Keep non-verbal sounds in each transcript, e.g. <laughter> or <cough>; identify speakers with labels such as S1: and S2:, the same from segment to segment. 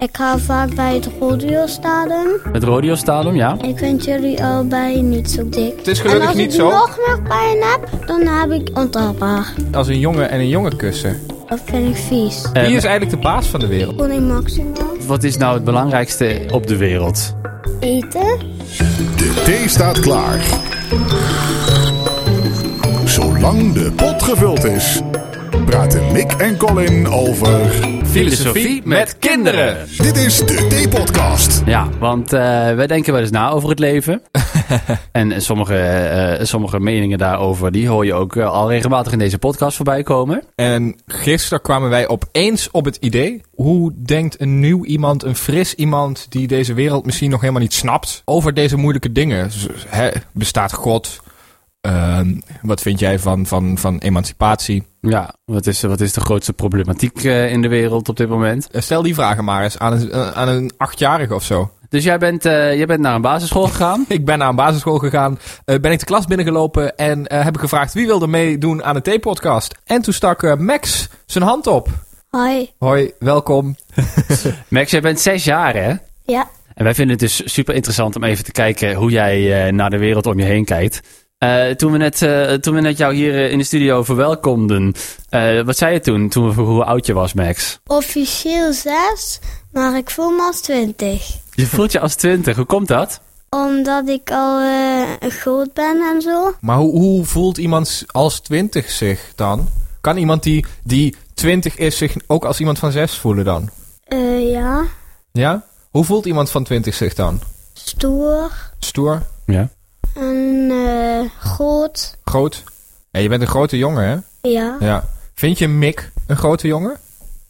S1: Ik ga vaak bij het Rodeostadion.
S2: Het Rodeostadium, ja.
S1: Ik vind jullie allebei niet zo dik.
S3: Het is gelukkig
S1: en als
S3: niet
S1: ik
S3: zo.
S1: nog meer pijn heb, dan heb ik ontelbaar.
S3: Als een jongen en een jongen kussen.
S1: Dat vind ik vies.
S2: En
S3: Wie is eigenlijk de baas van de wereld?
S1: Koning Maximaal.
S2: wat is nou het belangrijkste op de wereld?
S1: Eten.
S4: De thee staat klaar. Zolang de pot gevuld is, praten Mick en Colin over.
S2: Filosofie met kinderen.
S4: Dit is de Thee-podcast.
S2: Ja, want eh, wij denken wel eens na over het <laughs> leven. en eh, sommige, eh, sommige meningen daarover, die hoor je ook eh, al regelmatig in deze podcast voorbij komen.
S3: En gisteren kwamen wij opeens op het idee. Hoe denkt een nieuw iemand, een fris iemand die deze wereld misschien nog helemaal niet snapt, over deze moeilijke dingen? Z- hè, bestaat God? Ehm, wat vind jij van, van, van emancipatie?
S2: Ja, wat is, wat is de grootste problematiek eh, in de wereld op dit moment?
S3: Eh, Stel die vragen maar eens aan een, eh, aan een achtjarige of zo.
S2: Dus jij bent, eh, jij bent naar een basisschool <laughs> gegaan.
S3: Ik ben naar een basisschool gegaan, eh, ben ik de klas binnengelopen en eh, heb ik gevraagd wie wilde meedoen aan de T-podcast. En toen stak eh, Max zijn hand op.
S1: Hoi.
S3: Hoi, welkom.
S2: Max, jij bent zes jaar, hè?
S1: Ja.
S2: En wij vinden het dus super interessant om even te kijken hoe jij eh, naar de wereld om je heen kijkt. Eh, toen, we net, eh, toen we net jou hier eh, in de studio verwelkomden, eh, wat zei je toen, toen we vroegen hoe oud je was, Max?
S1: Officieel 6, maar ik voel me als 20.
S2: Je voelt je als twintig, hoe komt dat?
S1: Omdat ik al eh, groot ben en zo.
S3: Maar hoe, hoe voelt iemand als 20 zich dan? Kan iemand die, die 20 is zich ook als iemand van 6 voelen dan?
S1: Eh, ja.
S3: Ja? Hoe voelt iemand van 20 zich dan?
S1: Stoer.
S3: Stoer?
S2: Ja.
S1: En eh, groot.
S3: Groot? Ja, je bent een grote jongen, hè?
S1: Ja.
S3: Ja. Vind je Mick een grote jongen?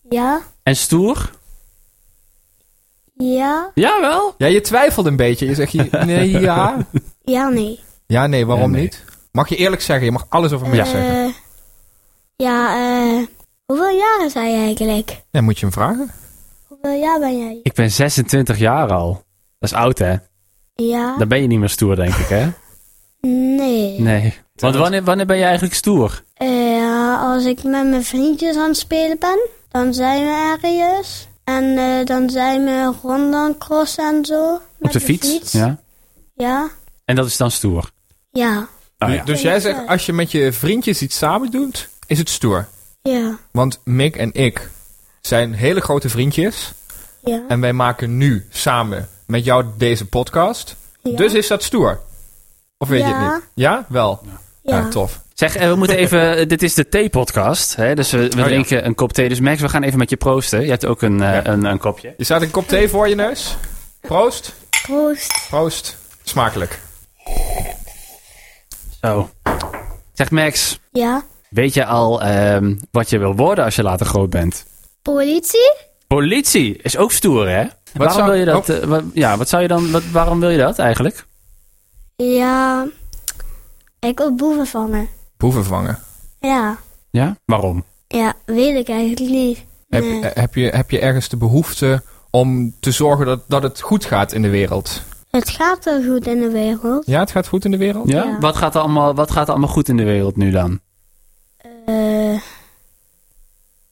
S1: Ja.
S2: En stoer?
S1: Ja.
S2: Jawel.
S3: Ja, je twijfelt een beetje. Je zegt, je- nee, ja.
S1: Ja, nee.
S3: Ja, nee, waarom
S2: Ja, nee.
S3: niet? Mag je eerlijk zeggen, je mag alles over Mick
S1: Eh,
S3: zeggen.
S1: ja, eh, hoeveel jaren zijn jij eigenlijk?
S3: Ja, moet je hem vragen?
S1: Hoeveel jaar ben jij?
S2: Ik ben 26 jaar al. Dat is oud, hè?
S1: Ja.
S2: Dan ben je niet meer stoer, denk ik, hè?
S1: Nee.
S2: Nee. Want wanneer, wanneer ben je eigenlijk stoer?
S1: Eh, ja, als ik met mijn vriendjes aan het spelen ben, dan zijn we ergens. En eh, dan zijn we rond aan het crossen en zo.
S2: Op
S1: met
S2: de fiets? Ja.
S1: Ja.
S2: En dat is dan stoer?
S1: Ja.
S2: Oh, ja.
S3: Dus jij zegt, als je met je vriendjes iets samen doet, is het stoer.
S1: Ja.
S3: Want Mick en ik zijn hele grote vriendjes.
S1: Ja.
S3: En wij maken nu samen met jou deze podcast.
S1: Ja.
S3: Dus is dat stoer? Of weet je het
S1: Ja.
S3: niet? Ja? Wel. Ja,
S1: Ja.
S3: tof.
S2: Zeg, eh, we moeten
S3: <laughs>
S2: even. Dit is de thee-podcast. Hè? Dus we, we
S3: Oh, ja.
S2: drinken een kop thee. Dus Max, we gaan even met je proosten. Je hebt ook een, eh, een, een kopje.
S3: Je staat een kop thee voor je neus. Proost.
S1: Proost.
S3: Proost. Smakelijk.
S2: Zo. Zeg, Max,
S1: Ja.
S2: weet je al ehm, wat je wil worden als je later groot bent?
S1: Politie?
S2: Politie is ook stoer, hè? waarom
S3: zou- oh.
S2: wil je dat? eh, wa- ja, wat zou je dan. Wat, waarom wil je dat eigenlijk?
S1: Ja. Ik wil boeven vangen.
S3: Boeven vangen.
S1: Ja.
S2: Ja? Waarom?
S1: Ja, weet ik eigenlijk niet.
S3: Heb,
S1: Nee.
S3: eh, heb, je, heb je ergens de behoefte om te zorgen dat, dat het goed gaat in de wereld?
S1: Het gaat wel goed in de wereld.
S3: Ja, het gaat goed in de wereld?
S2: Ja?
S1: Ja.
S2: Wat, gaat er allemaal, wat gaat er allemaal goed in de wereld nu dan?
S1: Eh,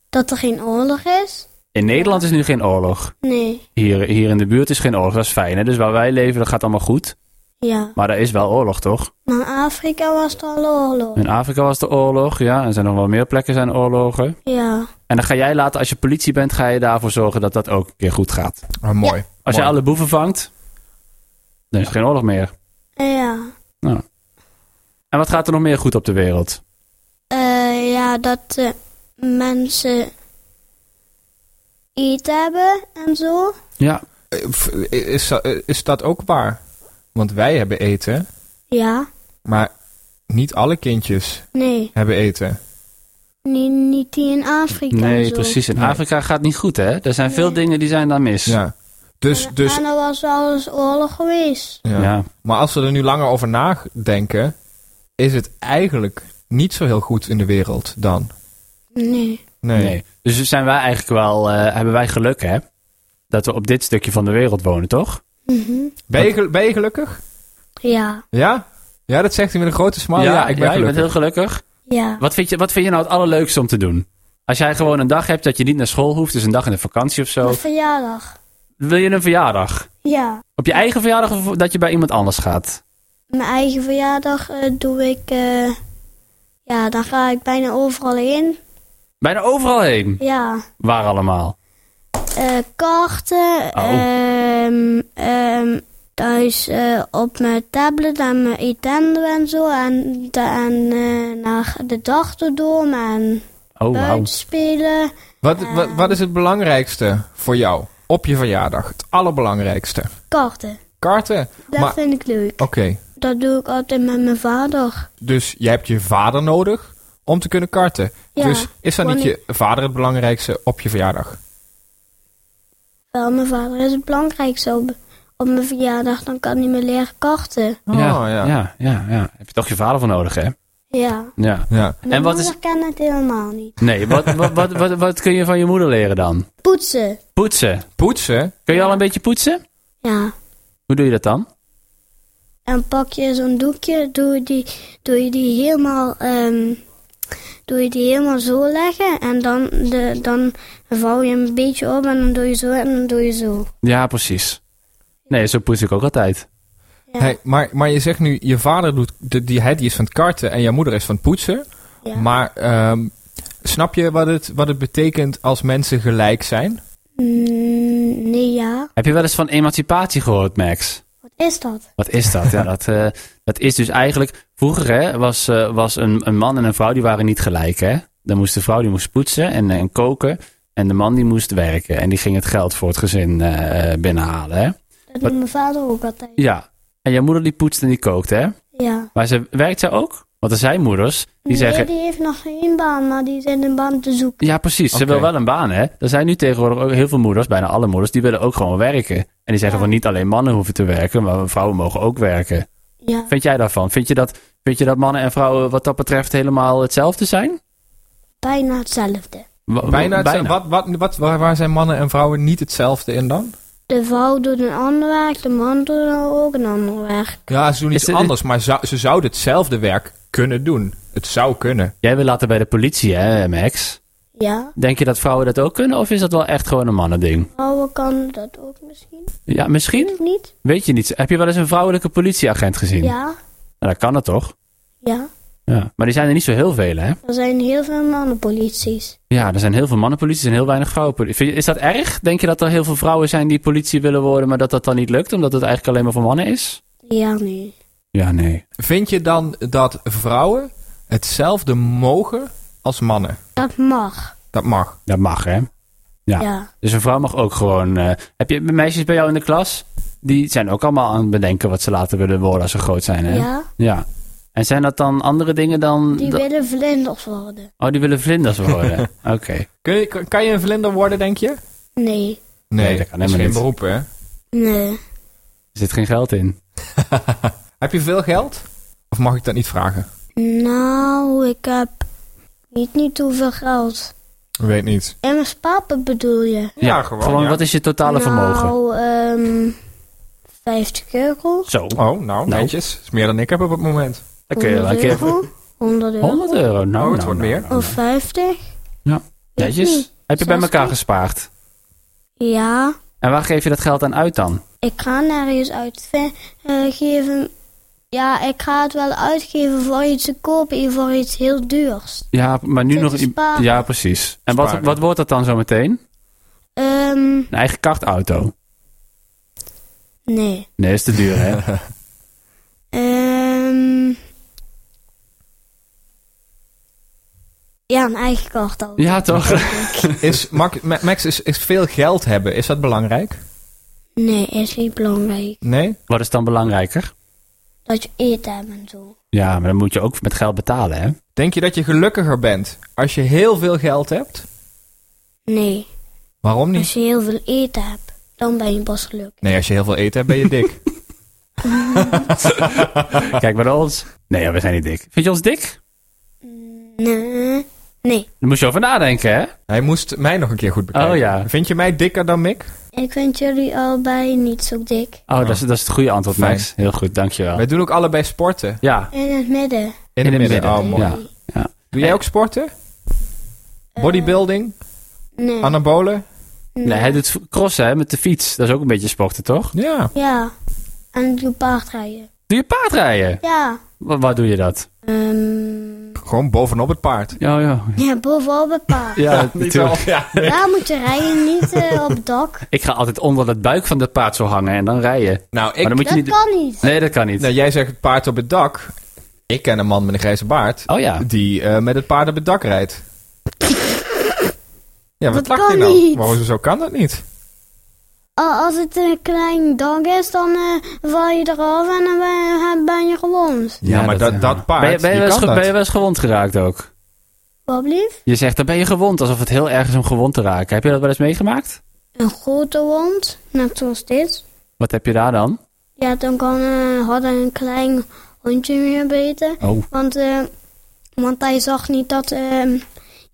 S1: dat er geen oorlog is?
S2: In Nederland is nu geen oorlog.
S1: Nee.
S2: Hier, hier in de buurt is geen oorlog. Dat is fijn, hè? Dus waar wij leven, dat gaat allemaal goed.
S1: Ja.
S2: Maar er is wel oorlog, toch?
S1: Maar in Afrika was het al oorlog.
S2: In Afrika was de oorlog, ja. Er zijn nog wel meer plekken zijn oorlogen.
S1: Ja.
S2: En dan ga jij later, als je politie bent, ga je daarvoor zorgen dat dat ook een keer goed gaat.
S3: Ah, mooi.
S2: Als
S3: Mooi.
S2: jij alle boeven vangt, dan is er geen oorlog meer.
S1: Eh, Ja.
S2: En wat gaat er nog meer goed op de wereld?
S1: Eh, ja, dat eh, mensen eten hebben en zo.
S2: Ja.
S3: Eh, f- Is, dat- eh, is dat ook waar? Want wij hebben eten,
S1: Ja.
S3: maar niet alle kindjes
S1: Nee.
S3: hebben eten.
S1: Niet, niet die in Afrika. en
S2: Nee,
S1: zo.
S2: precies. In
S3: Nee.
S2: Afrika gaat het niet goed, hè? Er zijn veel dingen die zijn daar mis.
S3: Ja. Dus,
S1: En-
S3: dus,
S1: En er was wel eens oorlog geweest.
S3: ja.
S2: Ja.
S3: Maar als we er nu langer over nadenken, is het eigenlijk niet zo heel goed in de wereld dan.
S1: Nee.
S3: Nee.
S2: Nee. Dus zijn wij eigenlijk wel, eh, hebben wij geluk, hè? Dat we op dit stukje van de wereld wonen, toch?
S1: Mhm.
S3: Ben, je, gel- ben je gelukkig?
S1: Ja.
S3: Ja? Ja, dat zegt hij met een grote smile. Ja, ik ben
S2: je bent
S3: gelukkig.
S2: heel gelukkig.
S1: Ja.
S2: Wat vind, je, wat vind je nou het allerleukste om te doen? Als jij gewoon een dag hebt dat je niet naar school hoeft, dus een dag in de vakantie of zo.
S1: Mijn verjaardag.
S2: Wil je een verjaardag?
S1: Ja.
S2: Op je eigen verjaardag of dat je bij iemand anders gaat?
S1: Mijn eigen verjaardag eh, doe ik. eh, ja, dan ga ik bijna overal in.
S2: Bijna overal heen.
S1: Ja.
S2: Waar allemaal?
S1: eh, karten.
S2: Oh.
S1: ehm, ehm, thuis eh, op mijn tablet en mijn Nintendo en zo. En, da- en eh, naar de dag toe doen en
S2: Oh, wauw.
S1: buiten spelen.
S3: Wat, wat, wat is het belangrijkste voor jou op je verjaardag? Het allerbelangrijkste.
S1: Karten.
S3: Karten.
S1: Dat
S3: Maar-
S1: vind ik leuk.
S3: Oké,
S1: Dat doe ik altijd met mijn vader.
S3: dus je hebt je vader nodig om te kunnen karten.
S1: Ja,
S3: dus is dan niet
S1: wanneer-
S3: je vader het belangrijkste op je verjaardag?
S1: Wel, mijn vader is het belangrijkste op, op mijn verjaardag. Dan kan hij me leren karten.
S3: Oh,
S2: ja. Ja, ja, ja. Heb je toch je vader voor nodig, hè?
S1: Ja.
S2: Ja.
S3: Ja.
S1: Mijn
S2: En wat
S1: moeder kan het helemaal niet.
S2: Nee, wat, wat, wat, wat, wat kun je van je moeder leren dan?
S1: Poetsen.
S2: Poetsen.
S3: Poetsen?
S2: Kun je al een beetje poetsen?
S1: Ja.
S2: Hoe doe je dat dan?
S1: En pak je zo'n doekje, doe je die, doe je die helemaal... ehm, Doe je die helemaal zo leggen en dan, de, dan vouw je hem een beetje op en dan doe je zo en dan doe je zo.
S2: Ja, precies. Nee, zo poets ik ook altijd.
S1: Ja,
S3: Hey, maar, maar je zegt nu, je vader doet, de, die, hij die is van het karten en jouw moeder is van het poetsen.
S1: ja.
S3: Maar ehm, snap je wat het, wat het betekent als mensen gelijk zijn?
S1: Mm, nee, ja.
S2: Heb je wel eens van emancipatie gehoord, Max?
S1: Wat is dat?
S2: Wat is dat? Ja, dat, eh, dat is dus eigenlijk... Vroeger hè, was, eh, was een, een man en een vrouw, die waren niet gelijk. Hè? Dan moest de vrouw die moest poetsen en, eh, en koken. En de man die moest werken. En die ging het geld voor het gezin eh, binnenhalen. Hè?
S1: Dat
S2: Wat-
S1: doet mijn vader ook altijd.
S2: Ja. En jouw moeder die poetst en die kookt, hè?
S1: Ja.
S2: Maar ze, werkt zij ook? Want er zijn moeders die
S1: nee,
S2: zeggen...
S1: die heeft nog geen baan, maar die zijn een baan te zoeken.
S2: Ja, precies. Ze
S3: Oké.
S2: wil wel een baan, hè? Er zijn nu tegenwoordig ook heel veel moeders, bijna alle moeders, die willen ook gewoon werken. En die zeggen
S1: Ja.
S2: van niet alleen mannen hoeven te werken, maar vrouwen mogen ook werken.
S1: Ja.
S2: Vind jij daarvan? Vind je dat, vind je dat mannen en vrouwen wat dat betreft helemaal hetzelfde zijn?
S1: Bijna hetzelfde.
S2: Wa- wa-
S3: Oh, Bijna, het- Wat, wat, wat, waar, waar zijn mannen en vrouwen niet hetzelfde in dan?
S1: De vrouw doet een ander werk, de man doet dan ook een ander werk.
S3: Ja, ze doen iets
S2: Is het-
S3: anders, maar zou- ze zouden hetzelfde werk kunnen doen. Het zou kunnen.
S2: Jij wil later bij de politie, hè, Max?
S1: Ja,
S2: Denk je dat vrouwen dat ook kunnen, of is dat wel echt gewoon een mannending?
S1: vrouwen kan dat ook misschien.
S2: Ja, misschien.
S1: Of niet?
S2: Weet je niet. Heb je wel eens een vrouwelijke politieagent gezien?
S1: Ja,
S2: Nou, dat kan het toch?
S1: ja.
S2: Ja. Maar die zijn er niet zo heel veel, hè?
S1: Er zijn heel veel mannenpolities.
S2: Ja, er zijn heel veel mannenpolities en heel weinig vrouwenpolitie. Vind je- Is dat erg? Denk je dat er heel veel vrouwen zijn die politie willen worden, maar dat dat dan niet lukt, omdat het eigenlijk alleen maar voor mannen is?
S1: Ja, nee.
S2: Ja, nee.
S3: Vind je dan dat vrouwen hetzelfde mogen als mannen?
S1: Dat mag.
S3: Dat mag.
S2: Dat mag, hè? Ja.
S1: Ja.
S2: Dus een vrouw mag ook gewoon... eh, heb je meisjes bij jou in de klas? Die zijn ook allemaal aan het bedenken wat ze later willen worden als ze groot zijn,
S1: Ja.
S2: hè? Ja. En zijn dat dan andere dingen dan...
S1: Die
S2: dan-
S1: willen vlinders worden.
S2: Oh, die willen vlinders worden.
S1: <laughs>
S2: Oké.
S3: Kun je, kan- kan je een vlinder worden, denk je?
S1: Nee.
S2: Nee, dat kan
S3: is geen
S2: helemaal niet.
S3: beroep, hè?
S1: Nee.
S2: Er zit geen geld in.
S3: Heb je veel geld? Of mag ik dat niet vragen?
S1: Nou, ik heb niet, niet hoeveel geld.
S3: Weet niet.
S1: En mijn spapen bedoel je?
S3: Ja, gewoon, ja.
S2: wat is je totale vermogen?
S1: Nou, ehm 50 euro.
S2: Zo.
S3: Oh, nou, netjes. Dat is meer dan ik heb op het moment.
S2: Dan kun je wel een keer...
S1: 100 euro.
S2: 100 euro. Nou,
S3: Oh,
S2: nou,
S3: het wordt
S2: nou,
S3: meer.
S2: nou.
S1: Of 50?
S2: Ja. Netjes.
S1: niet.
S2: Heb je bij
S1: Zelfs
S2: elkaar
S1: niet.
S2: gespaard?
S1: Ja.
S2: En waar geef je dat geld aan uit dan?
S1: Ik ga nergens uitgeven. Ja, ik ga het wel uitgeven voor iets te kopen en voor iets heel duurs.
S2: Ja, maar nu
S1: Zit
S2: nog...
S1: te sparen.
S2: Ja, precies. En wat,
S3: Sparen.
S2: wat wordt dat dan zo meteen?
S1: Ehm,
S2: Een eigen kartauto?
S1: nee.
S2: Nee, is te duur,
S3: <laughs>
S2: hè?
S1: Ehm. ja, een eigen kort al.
S2: ja, toch? nou.
S3: Is, mag- Ma- Max, is, is veel geld hebben, is dat belangrijk?
S1: Nee, is niet belangrijk.
S3: Nee?
S2: wat is dan belangrijker?
S1: Dat je eten hebt en zo.
S2: Ja, maar dan moet je ook met geld betalen, hè?
S3: Denk je dat je gelukkiger bent als je heel veel geld hebt?
S1: Nee,
S3: Waarom niet?
S1: als je heel veel eten hebt, dan ben je pas gelukkig.
S3: Nee, als je heel veel eten hebt, ben je
S2: <laughs>
S3: dik.
S2: <laughs> Kijk maar naar ons. Nee, ja, we zijn niet dik. Vind je ons dik?
S1: Nee, nee.
S2: Daar moest je over nadenken, hè?
S3: Hij moest mij nog een keer goed bekijken.
S2: Oh, ja.
S3: Vind je mij dikker dan Mick?
S1: Ik vind jullie allebei niet zo dik.
S2: Oh, Dat, is, dat is het goede antwoord,
S3: Fijn.
S2: Max. Heel goed, dankjewel.
S3: Wij doen ook allebei sporten. In,
S2: Ja.
S1: In het midden.
S3: het
S2: het
S3: midden.
S2: midden.
S3: Oh, mooi.
S2: Ja. ja.
S1: Eh, mm.
S3: Doe jij ook sporten? Bodybuilding?
S1: Nee.
S3: Anabolen?
S2: Nee, hij doet crossen hè, met de fiets. Dat is ook een beetje sporten, toch?
S3: Ja.
S1: Ja, en ik doe paardrijden.
S2: Doe je paardrijden?
S1: Ja.
S2: Wa- waar doe je dat?
S1: Ehm,
S3: Gewoon bovenop het paard.
S2: Ja, ja.
S1: ja, bovenop het paard.
S2: Ja,
S3: Niet
S2: natuurlijk.
S3: wel- ja.
S1: Daar moet je rijden, niet eh, op het dak.
S2: <laughs> Ik ga altijd onder het buik van dat paard zo hangen en dan rijden.
S3: Nou,
S2: Maar
S3: ik,
S2: dan moet je
S1: Dat
S2: niet...
S1: kan niet.
S2: Nee, dat kan niet.
S3: nou, jij zegt het paard op het dak. Ik ken een man met een grijze baard.
S2: Oh ja.
S3: Die eh, met het paard op het dak rijdt. ja, wat
S1: Dat
S3: lacht
S1: kan
S3: hij nou?
S1: niet.
S3: Maar hoezo, zo kan dat niet?
S1: A- Als het een klein dak is, dan eh, val je eraf en dan ben, eh, ben je gewond.
S3: Ja, maar dat, dat paard,
S2: Ben je, ben, je
S3: die
S2: wel eens,
S3: kan
S2: ge-
S3: dat.
S2: ben je wel eens gewond geraakt ook?
S1: Wat blieft?
S2: Je zegt, dan ben je gewond, alsof het heel erg is om gewond te raken. Heb je dat wel eens meegemaakt?
S1: Een grote wond, net zoals dit.
S2: Wat heb je daar dan?
S1: Ja, dan kan eh had een klein hondje meer beter.
S2: Oh.
S1: Want, eh, want hij zag niet dat ehm,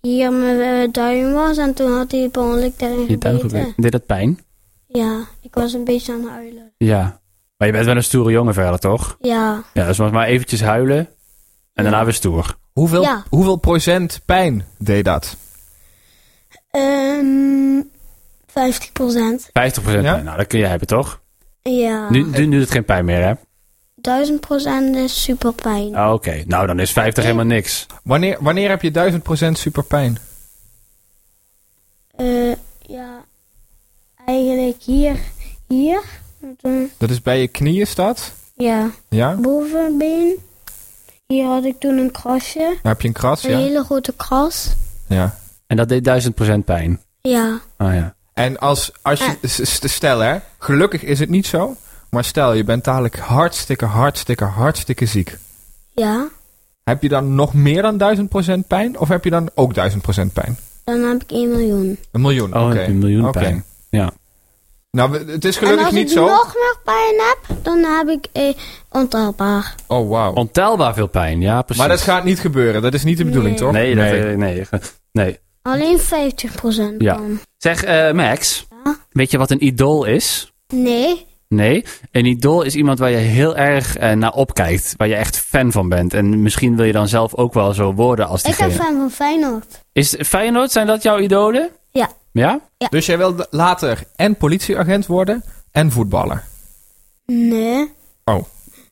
S1: hier mijn eh, duim was. En toen had hij per ongeluk daarin
S2: Je duim
S1: gebeten.
S2: gebeten. Deed dat pijn?
S1: Ja, ik was een beetje aan het huilen.
S2: Ja. Maar je bent wel een stoere jongen verder, toch?
S1: Ja,
S2: Ja, dus maar maar eventjes huilen en daarna weer stoer.
S3: Hoeveel,
S1: Ja.
S3: hoeveel procent pijn deed dat?
S1: ehm 50 procent.
S2: 50% pijn.
S3: Ja?
S2: Nou, dat kun je hebben, toch?
S1: Ja,
S2: Nu, nu doet het geen pijn meer, hè?
S1: 1000 procent is super pijn.
S2: Ah, Oké, nou dan is 50 helemaal niks.
S3: Wanneer, wanneer heb je 1000% superpijn?
S1: Eh, ja, eigenlijk hier, hier. En toen-
S3: Dat is bij je knieën staat?
S1: Ja,
S3: Ja?
S1: bovenbeen. Hier had ik toen een krasje.
S3: Dan heb je een kras,
S1: Een
S3: ja?
S1: hele grote kras.
S3: ja.
S2: En dat deed 1000% pijn.
S1: Ja,
S2: Ah ja.
S3: En als, als
S1: Ah.
S3: je, s- s- stel hè, gelukkig is het niet zo, maar stel je bent dadelijk hartstikke, hartstikke, hartstikke ziek.
S1: ja.
S3: Heb je dan nog meer dan 1000% pijn of heb je dan ook 1000% pijn?
S1: Dan heb ik 1 miljoen.
S3: Een miljoen.
S2: Oh,
S3: oké.
S2: een miljoen
S3: Oké.
S2: pijn. Ja.
S3: Nou, we- het is
S1: en
S3: gelukkig
S1: als
S3: niet
S1: ik
S3: zo.
S1: nog meer pijn heb, dan heb ik eh, ontelbaar.
S3: Oh, wauw.
S2: Ontelbaar veel pijn, ja precies.
S3: Maar dat gaat niet gebeuren, dat is niet de bedoeling,
S1: Nee.
S3: toch?
S2: Nee, dat, nee. nee. nee.
S1: Alleen 50%
S2: Ja.
S1: dan.
S2: Zeg, eh, Max,
S1: Ja?
S2: weet je wat een idool is?
S1: Nee,
S2: Nee, een idool is iemand waar je heel erg eh, naar opkijkt. Waar je echt fan van bent. En misschien wil je dan zelf ook wel zo worden als
S1: ik ben
S2: diegene.
S1: fan van Feyenoord.
S2: Is Feyenoord, zijn dat jouw idolen?
S1: Ja.
S2: Ja?
S3: Dus jij wil later en politieagent worden en voetballer.
S1: Nee,
S3: Oh,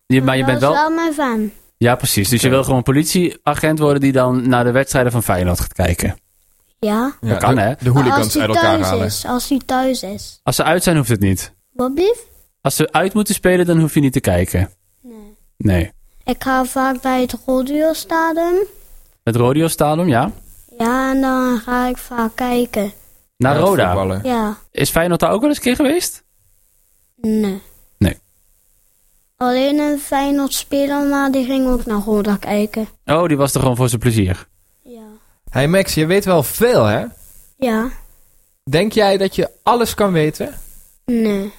S2: Je, maar je
S1: dat
S2: bent
S1: is
S2: wel...
S1: wel mijn fan.
S2: Ja, precies. Dus je
S3: Oké.
S2: wil gewoon politieagent worden die dan naar de wedstrijden van Feyenoord gaat kijken.
S1: Ja.
S3: ja,
S2: kan,
S3: de,
S2: hè?
S3: De
S1: Maar
S3: hooligans
S1: als hij
S3: uit elkaar
S1: thuis
S3: halen.
S1: is, als hij thuis is.
S2: Als ze uit zijn, hoeft het niet.
S1: Wat blieft?
S2: Als ze uit moeten spelen, dan hoef je niet te kijken.
S1: Nee.
S2: Nee.
S1: Ik ga vaak bij het Rodeostadium.
S2: Het Rodeo Stadium, ja.
S1: Ja, en dan ga ik vaak kijken.
S2: Naar
S3: Ja,
S2: Roda.
S3: voetballen.
S1: Ja,
S2: Is Feyenoord daar ook wel eens een keer geweest?
S1: nee.
S2: Nee.
S1: Alleen een Feyenoord speler, maar die ging ook naar Roda kijken.
S2: Oh, die was er gewoon voor zijn plezier.
S1: Ja.
S3: Hey Max, je weet wel veel, hè?
S1: Ja.
S3: Denk jij dat je alles kan weten?
S1: Nee, ik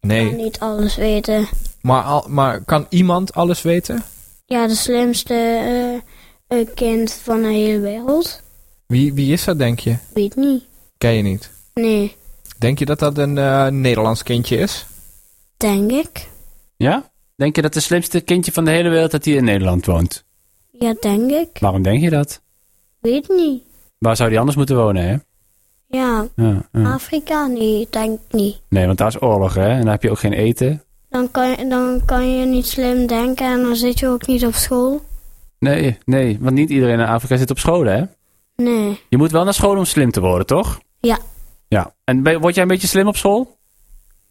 S1: kan
S3: Nee.
S1: niet alles weten.
S3: Maar, al, maar kan iemand alles weten?
S1: Ja, de slimste eh, eh, kind van de hele wereld.
S3: Wie, wie is dat, denk je?
S1: Weet niet.
S3: Ken je niet.
S1: Nee,
S3: Denk je dat dat een eh, Nederlands kindje is?
S1: denk ik.
S2: Ja? Denk je dat de slimste kindje van de hele wereld dat hij in Nederland woont?
S1: Ja, denk ik.
S2: Waarom denk je dat?
S1: Weet niet.
S2: Waar zou die anders moeten wonen, hè?
S1: Ja,
S2: Ja,
S1: Ah.
S2: ja.
S1: Afrika? Nee, denk ik niet.
S2: Nee, want daar is oorlog, hè? En daar heb je ook geen eten.
S1: Dan kan, je- dan kan je niet slim denken en dan zit je ook niet op school.
S2: Nee, nee. Want niet iedereen in Afrika zit op school, hè?
S1: Nee.
S2: Je moet wel naar school om slim te worden, toch?
S1: Ja.
S2: Ja. En ben- word jij een beetje slim op school?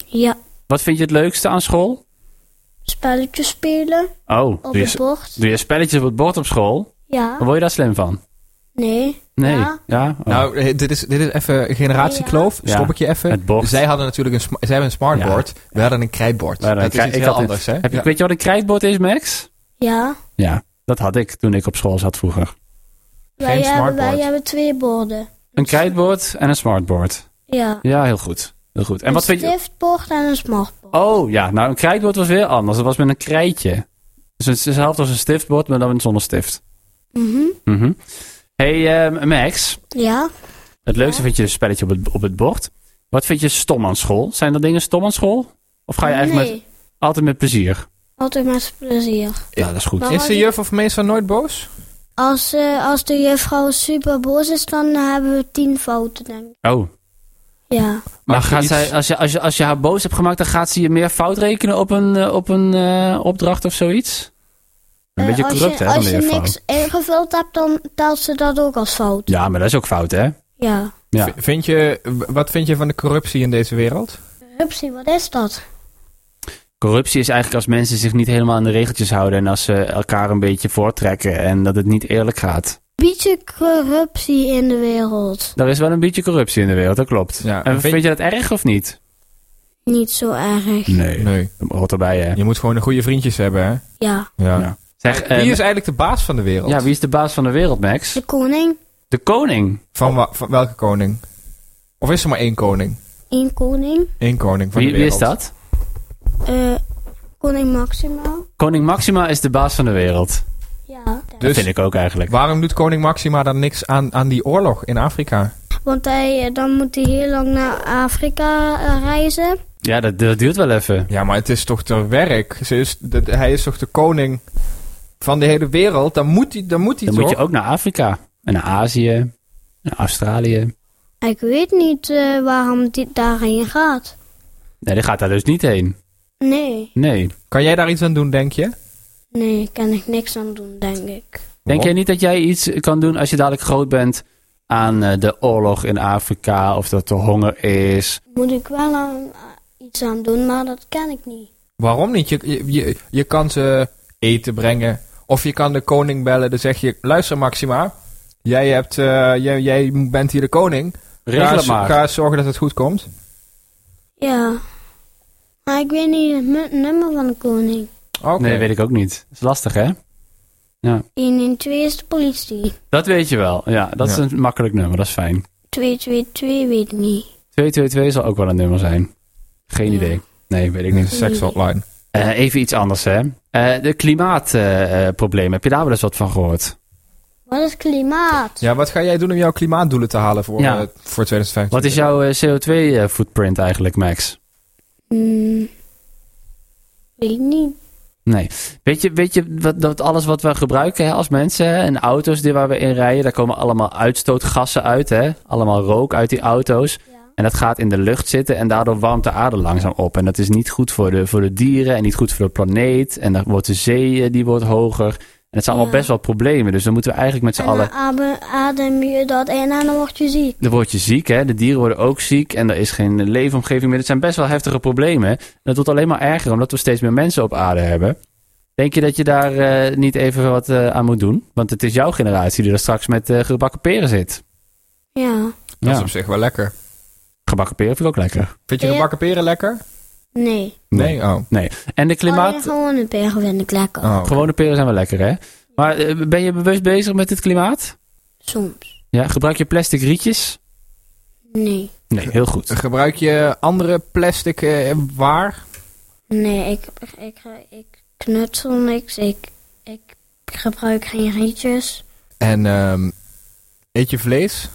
S1: Ja,
S2: Wat vind je het leukste aan school?
S1: spelletjes spelen
S2: Oh,
S1: op
S2: doe
S1: het
S2: je,
S1: bord.
S2: doe je spelletjes op het bord op school? Dan
S1: Ja,
S2: word je daar slim van?
S1: nee.
S2: Nee.
S1: Ja.
S2: Oh.
S3: Nou, eh, dit is, dit is even een generatiekloof.
S2: Ja.
S3: Stop ik je even.
S2: Het bord.
S3: Zij hadden natuurlijk een, sma- zij hebben een smartboard. We hadden een krijtbord.
S2: Maar dan
S3: dat is
S2: krij-
S3: iets
S2: ik
S3: heel
S2: had een-
S3: anders, hè?
S2: Heb je,
S3: Ja.
S2: Weet je wat een krijtbord is, Max?
S1: Ja.
S2: Ja, dat had ik toen ik op school zat vroeger.
S1: Wij hebben,
S3: smartboard.
S1: wij hebben twee borden.
S2: Een krijtbord en een smartboard.
S1: Ja.
S2: Ja, heel goed. Heel goed. En
S1: een
S2: wat vind je...
S1: stiftbord en een smartboard.
S2: Oh, ja. Nou, een krijtbord was weer anders. Dat was met een krijtje. Dus het is hetzelfde als een stiftbord, maar dan zonder stift.
S1: Mhm.
S2: Mhm. hey, eh, Max.
S1: Ja.
S2: Het leukste vind je een spelletje op het, op het bord. Wat vind je stom aan school? Zijn er dingen stom aan school? Of ga je eigenlijk
S1: nee.
S2: met, altijd met plezier?
S1: Altijd met plezier.
S2: Ja, dat is goed.
S1: Maar-
S3: Is de juf of meester nooit boos?
S1: Als, eh, als de juffrouw super boos is, dan hebben we tien fouten, denk ik.
S2: Oh.
S1: Ja.
S2: Maar
S3: Mag je
S2: gaat
S3: iets-
S2: zij, als, je, als, je, als je haar boos hebt gemaakt, dan gaat ze je meer fout rekenen op een, eh, op een eh, opdracht of zoiets? Een
S1: Eh,
S2: beetje
S1: als
S2: corrupt,
S1: je,
S2: hè, van
S1: Als
S2: de
S1: je
S2: juffrouw.
S1: niks ingevuld hebt, dan telt ze dat ook als fout.
S2: Ja, maar dat is ook fout, hè?
S1: Ja.
S2: Ja.
S3: V- Vind je, w- wat vind je van de corruptie in deze wereld?
S1: Corruptie, wat is dat?
S2: Corruptie is eigenlijk als mensen zich niet helemaal aan de regeltjes houden en als ze elkaar een beetje voortrekken en dat het niet eerlijk gaat.
S1: Beetje corruptie in de wereld.
S2: Er is wel een beetje corruptie in de wereld, dat klopt.
S3: Ja,
S2: en
S3: vind-
S2: vind je dat erg of niet?
S1: Niet zo erg.
S3: Nee.
S2: Dat hoort erbij, hè?
S3: Je moet gewoon een goede vriendjes hebben, hè?
S1: Ja.
S3: Ja.
S2: Ja. Zeg,
S3: Wie
S2: eh,
S3: is eigenlijk de baas van de wereld?
S2: ja, wie is de baas van de wereld, Max?
S1: De koning,
S2: De koning.
S3: Van, wa- van welke koning? Of is er maar één koning?
S1: één koning,
S3: Eén koning van
S2: Wie,
S3: de
S2: wie is
S3: wereld.
S2: dat?
S1: eh, koning maximaal.
S2: Koning Maxima is de baas van de wereld.
S1: Ja.
S2: Dat
S3: Dus
S2: vind ik ook eigenlijk.
S3: waarom doet koning Maxima dan niks aan, aan die oorlog in Afrika?
S1: Want hij, eh, dan moet hij heel lang naar Afrika eh, reizen.
S2: Ja, dat, dat duurt wel even.
S3: Ja, maar het is toch ter werk? Ze is, de- de- hij is toch de koning van de hele wereld? Dan moet hij, dan moet hij
S2: Dan
S3: toch?
S2: moet je ook naar Afrika en naar Azië, naar Australië.
S1: Ik weet niet eh, waarom dit daarheen gaat.
S2: Nee, die gaat daar dus niet heen.
S1: Nee,
S2: Nee.
S3: Kan jij daar iets aan doen, denk je?
S1: nee, kan ik niks aan doen, denk ik.
S2: Denk
S3: Waarom?
S2: jij niet dat jij iets kan doen als je dadelijk groot bent aan eh, de oorlog in Afrika of dat er honger is?
S1: Moet ik wel aan, eh, iets aan doen, maar dat kan ik niet.
S3: Waarom niet? Je, je, je, je kan ze eten brengen. Of je kan de koning bellen. Dan zeg je, luister Maxima. Jij, hebt, eh, jij, jij bent hier de koning.
S2: Regel
S3: ga,
S2: het
S3: zo-
S2: maar.
S3: ga zorgen dat het goed komt.
S1: Ja. Maar ik weet niet het mu- nummer van de koning.
S3: Oké.
S2: Nee, weet ik ook niet. Dat is lastig, hè?
S1: 112 is de politie.
S2: Dat weet je wel. Ja, dat is
S3: Ja.
S2: een makkelijk nummer. Dat is fijn.
S1: 222 weet ik niet.
S2: 222 zal ook wel een nummer zijn. Geen
S1: Ja.
S2: idee. Nee, weet ik
S3: Een
S2: niet.
S3: sekshotline.
S2: Eh, even iets anders, hè? Eh, de klimaatprobleem. Heb je daar wel eens wat van gehoord?
S1: Wat is klimaat?
S3: Ja, wat ga jij doen om jouw klimaatdoelen te halen voor,
S2: Ja.
S3: eh, voor 2015?
S2: Wat is jouw eh, CO2-footprint eigenlijk, Max?
S1: Hmm. Weet ik niet.
S2: Nee. Weet je, weet je wat, dat alles wat we gebruiken hè, als mensen hè, en auto's die waar we in rijden, daar komen allemaal uitstootgassen uit, hè? Allemaal rook uit die auto's. En dat gaat in de lucht zitten en daardoor warmt de aarde langzaam op. En dat is niet goed voor de, voor de dieren en niet goed voor de planeet. En dan wordt de zee eh, die wordt hoger. En het zijn allemaal
S1: Ja.
S2: best wel problemen. Dus dan moeten we eigenlijk met z'n
S1: En eh, dan
S2: allen...
S1: abe- adem je dat in en dan word je ziek.
S2: Dan word je ziek, hè? De dieren worden ook ziek en er is geen leefomgeving meer. Het zijn best wel heftige problemen. En dat wordt alleen maar erger omdat we steeds meer mensen op aarde hebben. Denk je dat je daar eh, niet even wat eh, aan moet doen? Want het is jouw generatie die er straks met eh, gebakken peren zit.
S1: Ja.
S3: Dat is
S2: Ja.
S3: op zich wel lekker.
S2: Gebakken peren vind ik ook lekker.
S3: Vind je
S1: Ja.
S3: gebakken peren lekker?
S1: Nee.
S3: Nee? Oh.
S2: Nee. En de
S1: Alleen
S2: klimaat...
S1: Oh, gewoon een berg vind ik lekker.
S3: oh oké.
S2: Gewone peren zijn wel lekker, hè? Maar eh, ben je bewust bezig met het klimaat?
S1: Soms.
S2: Ja, gebruik je plastic rietjes?
S1: Nee.
S2: Nee, heel goed.
S3: Gebruik je andere plastic eh, waar?
S1: Nee, ik, ik, ik knutsel niks. Ik, ik gebruik geen rietjes.
S3: En ehm, eet je vlees?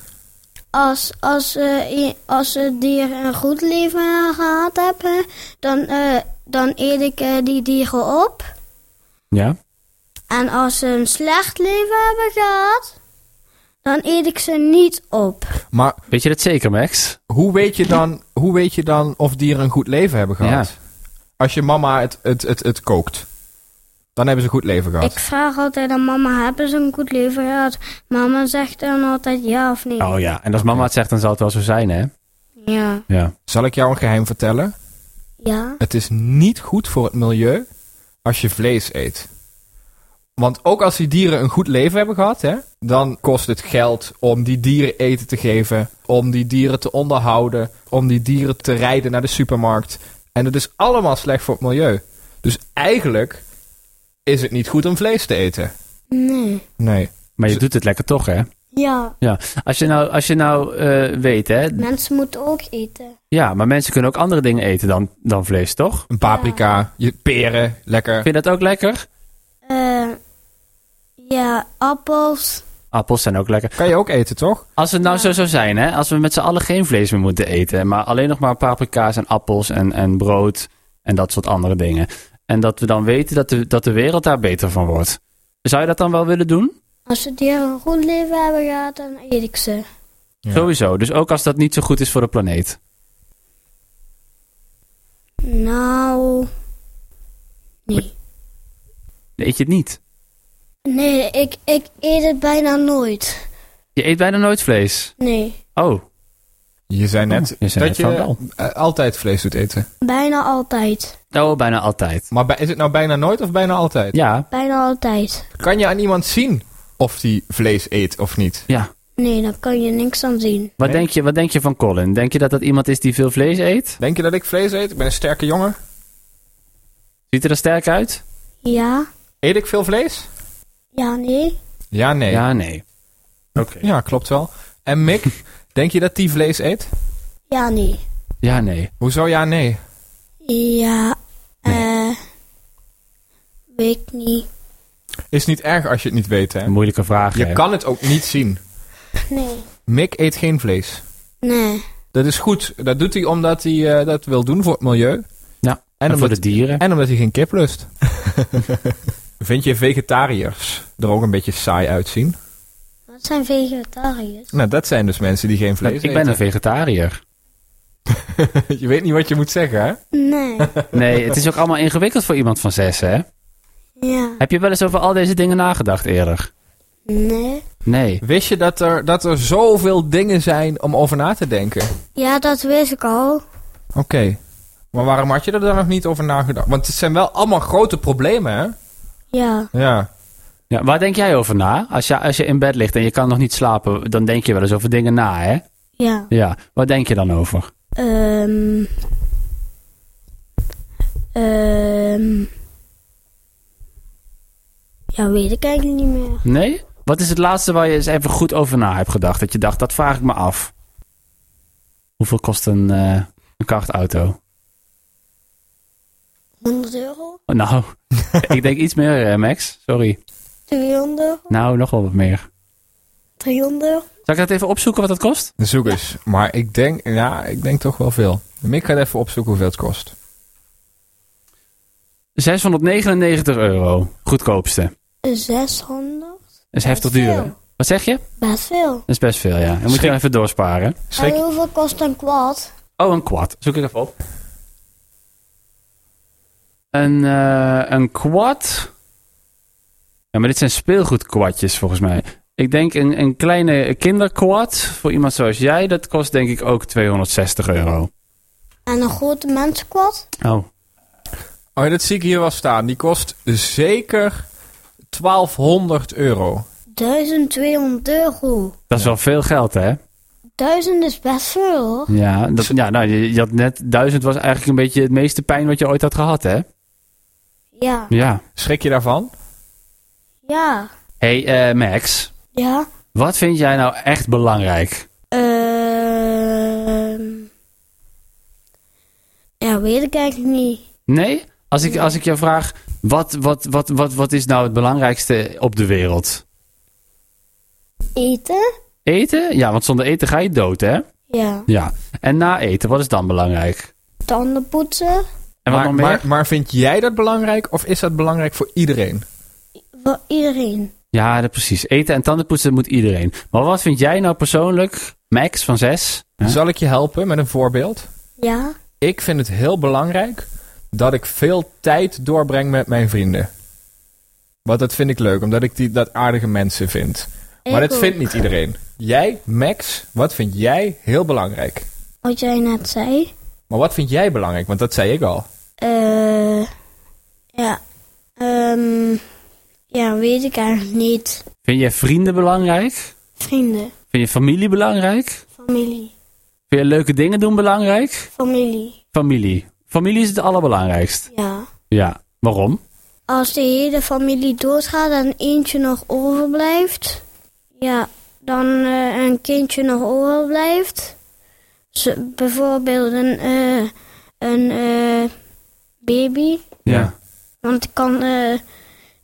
S1: Als, als, eh, i- als het dier een goed leven gehad hebt, hè, dan, eh, dan eet ik eh, die dieren op.
S2: Ja?
S1: En als ze een slecht leven hebben gehad, dan eet ik ze niet op.
S3: Maar
S2: Weet je dat zeker, Max?
S3: hoe weet je dan, hoe weet je dan of dieren een goed leven hebben gehad? Als je mama het, het, het, het kookt. Dan hebben ze een goed leven gehad.
S1: Ik vraag altijd aan mama, hebben ze een goed leven gehad? Mama zegt dan altijd ja of nee.
S2: Oh ja, en als mama het zegt, dan zal het wel zo zijn, hè?
S1: Ja.
S2: Ja.
S3: Zal ik jou een geheim vertellen?
S1: Ja?
S3: Het is niet goed voor het milieu als je vlees eet. Want ook als die dieren een goed leven hebben gehad, hè, dan kost het geld om die dieren eten te geven, om die dieren te onderhouden, om die dieren te rijden naar de supermarkt. En dat is allemaal slecht voor het milieu. Dus eigenlijk is het niet goed om vlees te eten.
S1: Nee.
S3: Nee.
S2: Maar je doet het lekker toch, hè?
S1: Ja.
S2: Ja, als je nou, als je nou eh, weet, hè?
S1: Mensen moeten ook eten.
S2: Ja, maar mensen kunnen ook andere dingen eten dan, dan vlees, toch?
S3: Een paprika, je peren, lekker.
S2: Vind je dat ook lekker?
S1: Eh, ja, appels.
S2: Appels zijn ook lekker.
S3: Kan je ook eten, toch?
S2: Als het nou zo zou zijn, hè? Als we met z'n allen geen vlees meer moeten eten, maar alleen nog maar paprika's en appels en, en brood en dat soort andere dingen. En dat we dan weten dat de, dat de wereld daar beter van wordt. Zou je dat dan wel willen doen?
S1: Als ze dieren een goed leven hebben gehad, dan eet ik ze.
S3: Ja.
S2: Sowieso. Dus ook als dat niet zo goed is voor de planeet.
S1: Nou. Nee.
S2: Dan eet je het niet.
S1: Nee, ik, ik eet het bijna nooit.
S2: Je eet bijna nooit vlees.
S1: Nee.
S2: Oh,
S3: Je zei net
S2: je zei
S3: dat
S2: net van
S3: je
S2: wel.
S3: eh, altijd vlees doet eten.
S1: Bijna altijd.
S2: nou bijna altijd.
S3: Maar bij- is het nou bijna nooit of bijna altijd?
S2: Ja,
S1: Bijna altijd.
S3: Kan je aan iemand zien of die vlees eet of niet?
S2: ja.
S1: Nee, daar kan je niks aan zien.
S2: Wat,
S3: Nee.
S2: denk je, wat denk je van Colin? Denk je dat dat iemand is die veel vlees eet?
S3: Denk je dat ik vlees eet? Ik ben een sterke jongen.
S2: Ziet er er sterk uit?
S1: Ja?
S3: Eet ik veel vlees?
S1: Ja, nee?
S3: Ja, nee. Ja,
S2: Ja, nee. Oké.
S3: klopt wel. En Mick, <laughs> denk je dat die vlees eet?
S1: Ja, nee.
S2: Ja, nee.
S3: Hoezo ja, nee?
S1: Ja, eh. weet ik niet.
S3: Is niet erg als je het niet weet, hè?
S2: Een moeilijke vraag.
S3: Je
S2: hè?
S3: kan het ook niet zien.
S1: Nee.
S3: Mick eet geen vlees.
S1: Nee.
S3: Dat is goed. Dat doet hij omdat hij eh, dat wil doen voor het milieu.
S2: Ja. En,
S3: En
S2: voor
S3: omdat,
S2: de dieren.
S3: en omdat hij geen kip lust. <laughs> Vind je vegetariërs er ook een beetje saai uitzien?
S1: Wat zijn vegetariërs?
S3: Nou, dat zijn dus mensen die geen vlees
S2: Nou, ik ben een
S3: eten.
S2: vegetariër.
S3: <laughs> je weet niet wat je moet zeggen, hè?
S1: Nee.
S2: Nee, het is ook allemaal ingewikkeld voor iemand van zes, hè? <laughs>
S1: ja.
S2: Heb je wel eens over al deze dingen nagedacht eerder?
S1: Nee.
S2: Nee.
S3: Wist je dat er, dat er zoveel dingen zijn om over na te denken?
S1: Ja, dat wist ik al.
S3: Oké. Maar waarom had je er dan nog niet over nagedacht? Want het zijn wel allemaal grote problemen, hè?
S1: Ja.
S3: Ja.
S2: Ja, waar denk jij over na? Als je, als je in bed ligt en je kan nog niet slapen, dan denk je wel eens over dingen na, hè?
S1: Ja.
S2: Ja, waar denk je dan over?
S1: Ehm. Ehm. Ja, weet ik eigenlijk niet meer.
S2: Nee? Wat is het laatste waar je eens even goed over na hebt gedacht? Dat je dacht, dat vraag ik me af. Hoeveel kost een, eh, een kartauto?
S1: 100 euro?
S2: Oh, Nou, <laughs> ik denk iets meer, eh, Max. Sorry.
S1: 200 euro?
S2: Nou, nog wel wat meer.
S1: 300 euro?
S2: Zal ik dat even opzoeken wat dat kost?
S3: Zoek eens. Maar ik denk, ja, ik denk toch wel veel. Mick gaat even opzoeken hoeveel het kost.
S2: 699 euro. Goedkoopste. Dat
S1: 600?
S2: is heftig
S1: Best
S2: duur.
S1: veel.
S2: Wat zeg je?
S1: Best veel.
S2: Dat is best veel, ja. Dan moet je
S3: Schrik-
S2: wel even doorsparen.
S3: Schrik,
S1: En hoeveel kost een kwad?
S2: Oh, een quad. Zoek ik even op. Een, eh een quad. Ja, maar dit zijn speelgoedquadjes volgens mij. Ik denk een, een kleine kinderquad voor iemand zoals jij, dat kost denk ik ook 260 euro.
S1: En een grote mensenkwad?
S2: Oh.
S3: Oh, dat zie ik hier wel staan. Die kost zeker 1200 euro.
S1: 1200 euro.
S2: Dat is wel veel geld, hè?
S1: 1000 is best veel hoor.
S2: Ja, dat, ja nou, je, je had net... Duizend was eigenlijk een beetje het meeste pijn wat je ooit had gehad, hè?
S1: Ja.
S2: Ja.
S3: Schrik je daarvan?
S1: Ja.
S2: hey, eh, Max.
S1: Ja.
S2: Wat vind jij nou echt belangrijk?
S1: Ehm. Ja, weet ik eigenlijk niet.
S2: Nee? Als ik, als ik jou vraag, wat, wat, wat, wat, wat is nou het belangrijkste op de wereld?
S1: Eten?
S2: Eten? Ja, want zonder eten ga je dood, hè?
S1: Ja.
S2: Ja. En na eten, wat is dan belangrijk?
S1: Tanden poetsen?
S2: En wat
S3: maar,
S2: nog meer?
S3: maar, maar vind jij dat belangrijk of is dat belangrijk voor iedereen?
S1: Voor iedereen.
S2: Ja, dat precies. Eten en tandenpoetsen moet iedereen. Maar wat vind jij nou persoonlijk, Max van 6?
S3: Zal ik je helpen met een voorbeeld?
S1: Ja.
S3: Ik vind het heel belangrijk dat ik veel tijd doorbreng met mijn vrienden. Want dat vind ik leuk, omdat ik die, dat aardige mensen vind. Maar
S1: Ik
S3: dat vindt
S1: ook.
S3: niet iedereen. Jij, Max, wat vind jij heel belangrijk?
S1: Wat jij net zei.
S3: Maar wat vind jij belangrijk? Want dat zei ik al.
S1: Eh. ja. Ehm. ja, weet ik eigenlijk niet.
S2: Vind je vrienden belangrijk?
S1: Vrienden.
S2: Vind je familie belangrijk?
S1: Familie.
S2: Vind je leuke dingen doen belangrijk?
S1: Familie.
S2: Familie. Familie is het allerbelangrijkst.
S1: Ja.
S2: Ja. Waarom?
S1: Als de hele familie doodgaat en eentje nog overblijft, ja, dan eh, een kindje nog overblijft. Zo- bijvoorbeeld een, eh, een eh, baby,
S3: Ja.
S1: want die kan, eh,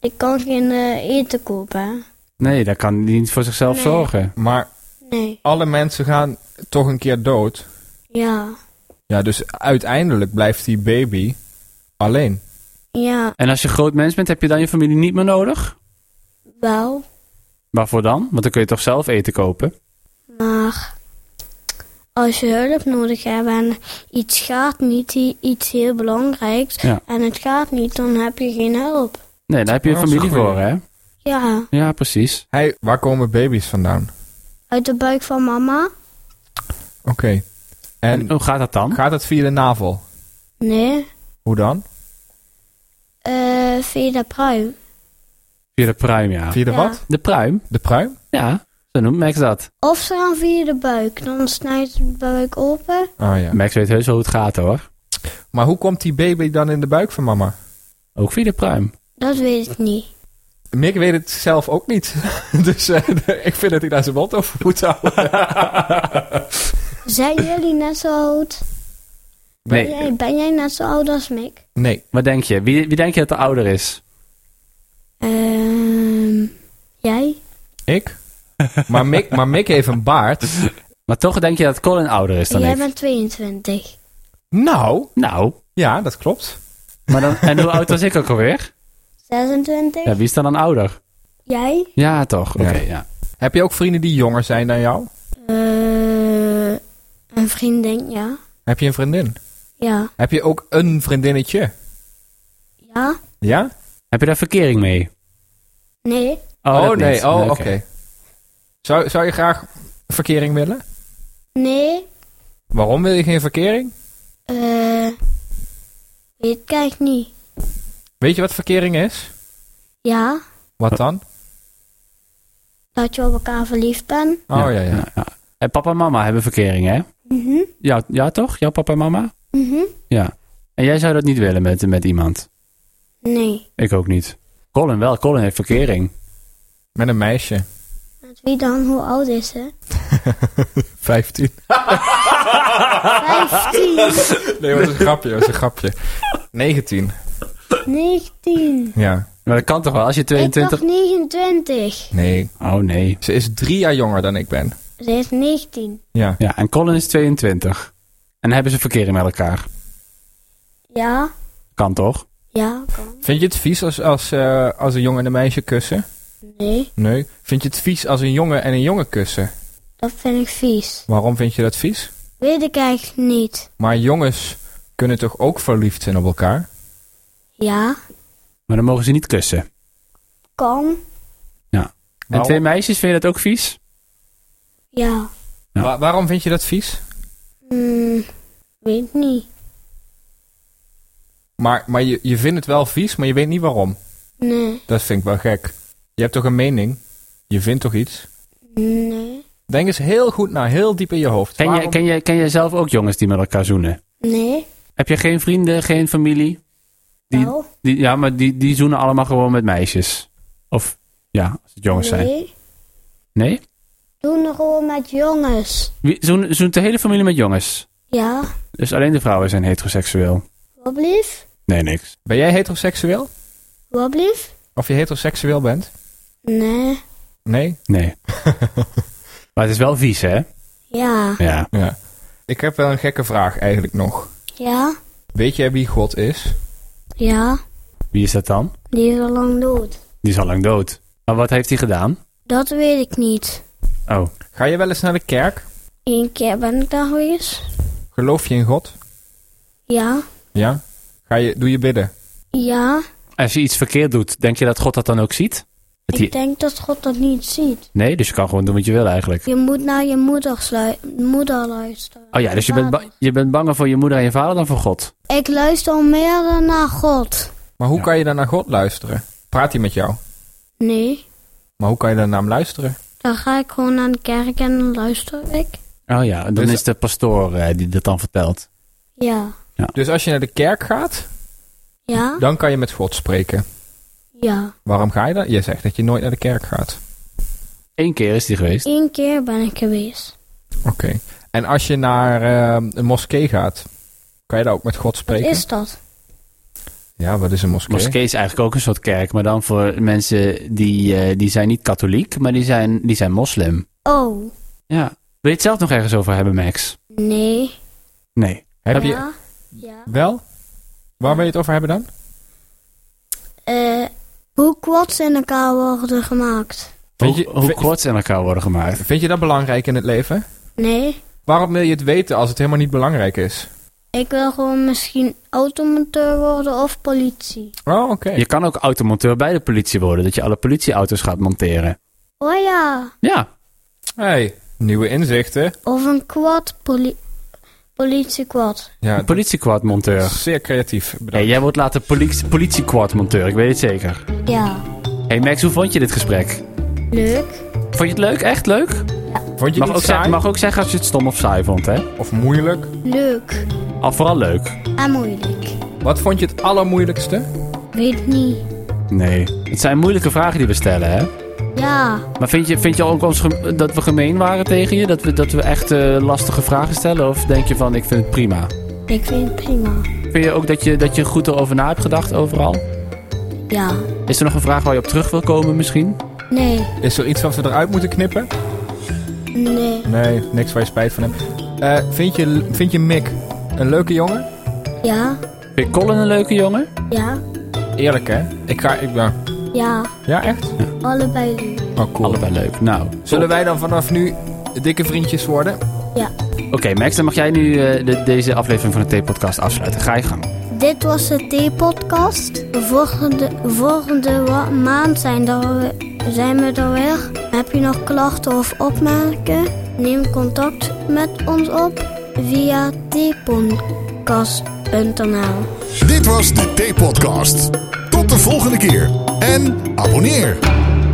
S1: die kan geen eh, eten kopen. hè?
S2: Nee, daar kan die niet voor zichzelf
S1: Nee.
S2: zorgen.
S3: Maar
S1: Nee,
S3: alle mensen gaan toch een keer dood.
S1: ja,
S3: Ja, dus uiteindelijk blijft die baby alleen.
S1: ja,
S2: En als je groot mens bent, heb je dan je familie niet meer nodig?
S1: wel,
S2: Waarvoor dan? Want dan kun je toch zelf eten kopen?
S1: maar als je hulp nodig hebt en iets gaat niet, i- iets heel belangrijks,
S2: Ja.
S1: en het gaat niet, dan heb je geen hulp.
S2: Nee, daar heb je
S3: Oh, dat is
S2: familie
S3: een goeie.
S2: voor, hè?
S1: Ja,
S2: Ja, precies.
S3: Hey, waar komen baby's vandaan?
S1: uit de buik van mama?
S3: Oké. En
S2: En hoe gaat dat dan?
S3: gaat het via de navel?
S1: Nee,
S3: Hoe dan?
S1: Eh via de pruim.
S2: Via de pruim, ja.
S3: Via de
S1: Ja.
S3: wat?
S2: De pruim?
S3: De pruim?
S2: Ja, zo noemt Max dat.
S1: Of ze gaan via de buik, dan snijdt de buik open.
S3: Ah ja.
S2: Max weet heus wel hoe het gaat, hoor.
S3: Maar hoe komt die baby dan in de buik van mama?
S2: Ook via de pruim.
S1: Dat weet ik niet.
S3: Mick weet het zelf ook niet. <laughs> dus eh, <laughs> ik vind dat hij daar zijn mond over moet houden.
S2: <coughs>
S1: Zijn jullie net zo oud? Ben
S2: Nee.
S1: jij, ben jij net zo oud als Mick?
S3: Nee.
S2: Wat denk je? Wie, wie denk je dat de ouder is?
S1: Ehm jij?
S3: Ik? Maar Mick, maar Mick heeft een baard.
S2: Maar toch denk je dat Colin ouder is dan
S1: jij
S2: ik?
S1: bent 22.
S3: Nou,
S2: Nou,
S3: ja, dat klopt.
S2: maar dan, en hoe oud was ik ook alweer?
S1: 26?
S2: Ja, wie is dan dan ouder?
S1: Jij?
S2: Ja, toch? Oké,
S3: Ja.
S2: ja.
S3: Heb je ook vrienden die jonger zijn dan jou?
S1: Eh een vriendin, ja.
S3: Heb je een vriendin?
S1: Ja.
S3: Heb je ook een vriendinnetje?
S1: Ja?
S3: Ja?
S2: Heb je daar verkering mee?
S1: Nee?
S2: dat
S3: nee.
S2: niet.
S3: Oh, oké.
S2: oké.
S3: Zou, zou je graag verkering willen?
S1: Nee?
S3: Waarom wil je geen verkering?
S1: Eh weet ik eigenlijk niet.
S3: Weet je wat verkering is?
S1: Ja?
S3: Wat dan?
S1: Dat je op elkaar verliefd bent?
S3: Oh ja, ja. ja.
S2: En papa en mama hebben verkering, hè?
S1: Mhm.
S2: Ja, ja toch? Jouw papa en mama?
S1: Mhm.
S2: Ja. En jij zou dat niet willen met, met iemand?
S1: Nee.
S2: Ik ook niet. Colin wel. Colin heeft verkering.
S3: Met een meisje.
S1: Met wie dan? Hoe oud is
S2: <laughs>
S1: ze?
S3: 15.
S1: 15.
S3: Nee, dat is een grapje, dat is een grapje. 19.
S1: 19.
S3: Ja.
S2: Maar dat kan toch wel? Als je
S1: Ik
S2: 22...
S1: dacht 29.
S3: Nee.
S2: Oh, nee.
S3: Ze is drie jaar jonger dan ik ben.
S1: Ze is 19.
S3: Ja.
S2: Ja, en Colin is 22. En hebben ze verkering met elkaar.
S1: Ja?
S2: Kan toch?
S1: Ja, kan.
S3: Vind je het vies als, als, eh, als een jongen en een meisje kussen?
S1: Nee,
S3: Nee. Vind je het vies als een jongen en een jongen kussen?
S1: dat vind ik vies.
S3: Waarom vind je dat vies?
S1: Weet ik eigenlijk niet.
S3: Maar jongens kunnen toch ook verliefd zijn op elkaar?
S1: Ja,
S2: Maar dan mogen ze niet kussen.
S1: kan.
S2: En
S3: Waarom?
S2: twee meisjes, vind je dat ook vies?
S1: Ja.
S2: Ja.
S3: Wa- waarom vind je dat vies?
S1: Hmm, weet niet.
S3: Maar, maar je, je vindt het wel vies, maar je weet niet waarom.
S1: Nee,
S3: Dat vind ik wel gek. Je hebt toch een mening? Je vindt toch iets?
S1: nee,
S3: Denk eens heel goed na, heel diep in je hoofd.
S2: Ken, je,
S3: Dus Waarom-
S2: ken, je, ken je zelf ook jongens die met elkaar zoenen?
S1: nee.
S2: Heb je geen vrienden, geen familie? Die-
S1: wel,
S2: Die, ja, maar die, die zoenen allemaal gewoon met meisjes. Of ja, als het jongens zijn.
S1: nee.
S2: Nee?
S1: Doen er gewoon met jongens.
S2: Wie, zoen- zoent de hele familie met jongens.
S1: Ja,
S2: Dus alleen de vrouwen zijn heteroseksueel.
S1: wat blief?
S2: Nee, niks.
S3: Ben jij heteroseksueel?
S1: Wat blief?
S3: Of je heteroseksueel bent?
S1: Nee,
S3: Nee?
S2: Nee.
S3: <laughs>
S2: maar het is wel vies, hè?
S1: ja,
S2: Ja.
S3: Ja. Ik heb wel een gekke vraag eigenlijk nog.
S1: ja,
S3: Weet jij wie God is?
S1: ja.
S2: Wie is dat dan?
S1: Die is al lang dood.
S2: Die is al lang dood. Maar wat heeft hij gedaan?
S1: Dat weet ik niet.
S2: Oh,
S3: Ga je wel eens naar de kerk?
S1: Eén keer ben ik daar geweest.
S3: Geloof je in God?
S1: Ja,
S3: Ja. Ga je, doe je bidden?
S1: ja.
S2: als je iets verkeerd doet, denk je dat God dat dan ook ziet? Dat
S1: Ik
S2: hij...
S1: denk dat God dat niet ziet.
S2: Nee, dus je kan gewoon doen wat je wil eigenlijk.
S1: Je moet naar je moeder, slui- moeder luisteren.
S2: Oh ja, dus je bent, ba- je bent banger voor je moeder en je vader dan voor God.
S1: Ik luister al meer dan naar God.
S3: Maar hoe
S2: Ja.
S3: kan je dan naar God luisteren? Praat hij met jou?
S1: Nee,
S3: Maar hoe kan je dan naar hem luisteren?
S1: dan ga ik gewoon naar de kerk en dan luister ik.
S2: Oh ja, en dan
S3: Dus-
S2: is de pastoor eh, die dat dan vertelt.
S1: Ja.
S3: Dus als je naar de kerk gaat,
S1: Ja?
S3: dan kan je met God spreken.
S1: Ja.
S3: Waarom ga je dan? Je zegt dat je nooit naar de kerk gaat.
S2: Eén keer is die geweest.
S1: Eén keer ben ik geweest.
S3: Oké. En als je naar ehm, een moskee gaat, kan je daar ook met God
S1: Wat
S3: spreken?
S1: is dat?
S3: Ja, wat is een moskee?
S2: Moskee is eigenlijk ook een soort kerk, maar dan voor mensen die, eh, die zijn niet katholiek, maar die zijn, die zijn moslim.
S1: Oh.
S2: Ja. Wil je het zelf nog ergens over hebben, Max?
S1: Nee.
S2: Nee.
S3: Heb je
S1: ja. Ja.
S3: wel? Waar wil je het over hebben dan?
S1: Eh, hoe kwads in elkaar worden gemaakt?
S3: Vind
S2: Hoe,
S3: je-
S2: hoe
S3: vind-
S2: kort ze in elkaar worden gemaakt.
S3: Vind je dat belangrijk in het leven?
S1: Nee.
S3: Waarom wil je het weten als het helemaal niet belangrijk is?
S1: Ik wil gewoon misschien automonteur worden of politie.
S3: Oh, oké.
S2: Je kan ook automonteur bij de politie worden. Dat je alle politieauto's gaat monteren.
S1: Oh ja,
S2: Ja,
S3: Hey, nieuwe inzichten.
S1: of een quad, poli politiequad.
S3: <laughs> Ja, dat
S2: politiequadmonteur.
S3: is zeer creatief. Bedankt.
S2: Hey, jij wordt later politie, politiequadmonteur, ik weet het zeker.
S1: Ja,
S2: Hey Max, hoe vond je dit gesprek?
S1: leuk.
S2: Vond je het leuk? Echt leuk?
S3: Vond je
S2: Mag
S3: het
S2: ook,
S3: niet
S2: zeggen,
S3: saai?
S2: mag ook zeggen als je het stom of saai vond, hè?
S3: Of moeilijk?
S1: Leuk
S2: Al vooral leuk.
S1: en moeilijk.
S3: Wat vond je het allermoeilijkste?
S1: Weet het niet.
S2: Nee. Het zijn moeilijke vragen die we stellen, hè?
S1: Ja,
S2: Maar vind je, vind je ook ons gem- dat we gemeen waren tegen je? Dat we, dat we echt eh, lastige vragen stellen? Of denk je van, ik vind het prima?
S1: ik vind het prima.
S2: Vind je ook dat je, dat je goed erover na hebt gedacht overal?
S1: Ja,
S2: Is er nog een vraag waar je op terug wil komen misschien?
S1: nee,
S3: Is er iets wat we eruit moeten knippen?
S1: nee,
S3: Nee, niks waar je spijt van hebt. Eh, vind, je, vind je Mick een leuke jongen?
S1: ja,
S2: Vind je Colin een leuke jongen?
S1: ja,
S3: Eerlijk, hè? Ik ga... Ik, ja.
S1: ja.
S3: ja, echt?
S1: Allebei leuk.
S3: Oh, cool.
S2: Allebei leuk. Nou,
S3: Zullen wij dan vanaf nu dikke vriendjes worden?
S1: Ja.
S2: Oké Max, dan mag jij nu eh, de- deze aflevering van de T-podcast afsluiten. Ga je gang.
S1: Dit was de T-podcast. De Volgende, volgende wa- maand zijn, er we- zijn we er weer. Heb je nog klachten of opmerkingen? Neem contact met ons op via tpodcast.nl.
S4: Dit was de T-podcast. Tot de volgende keer en abonneer.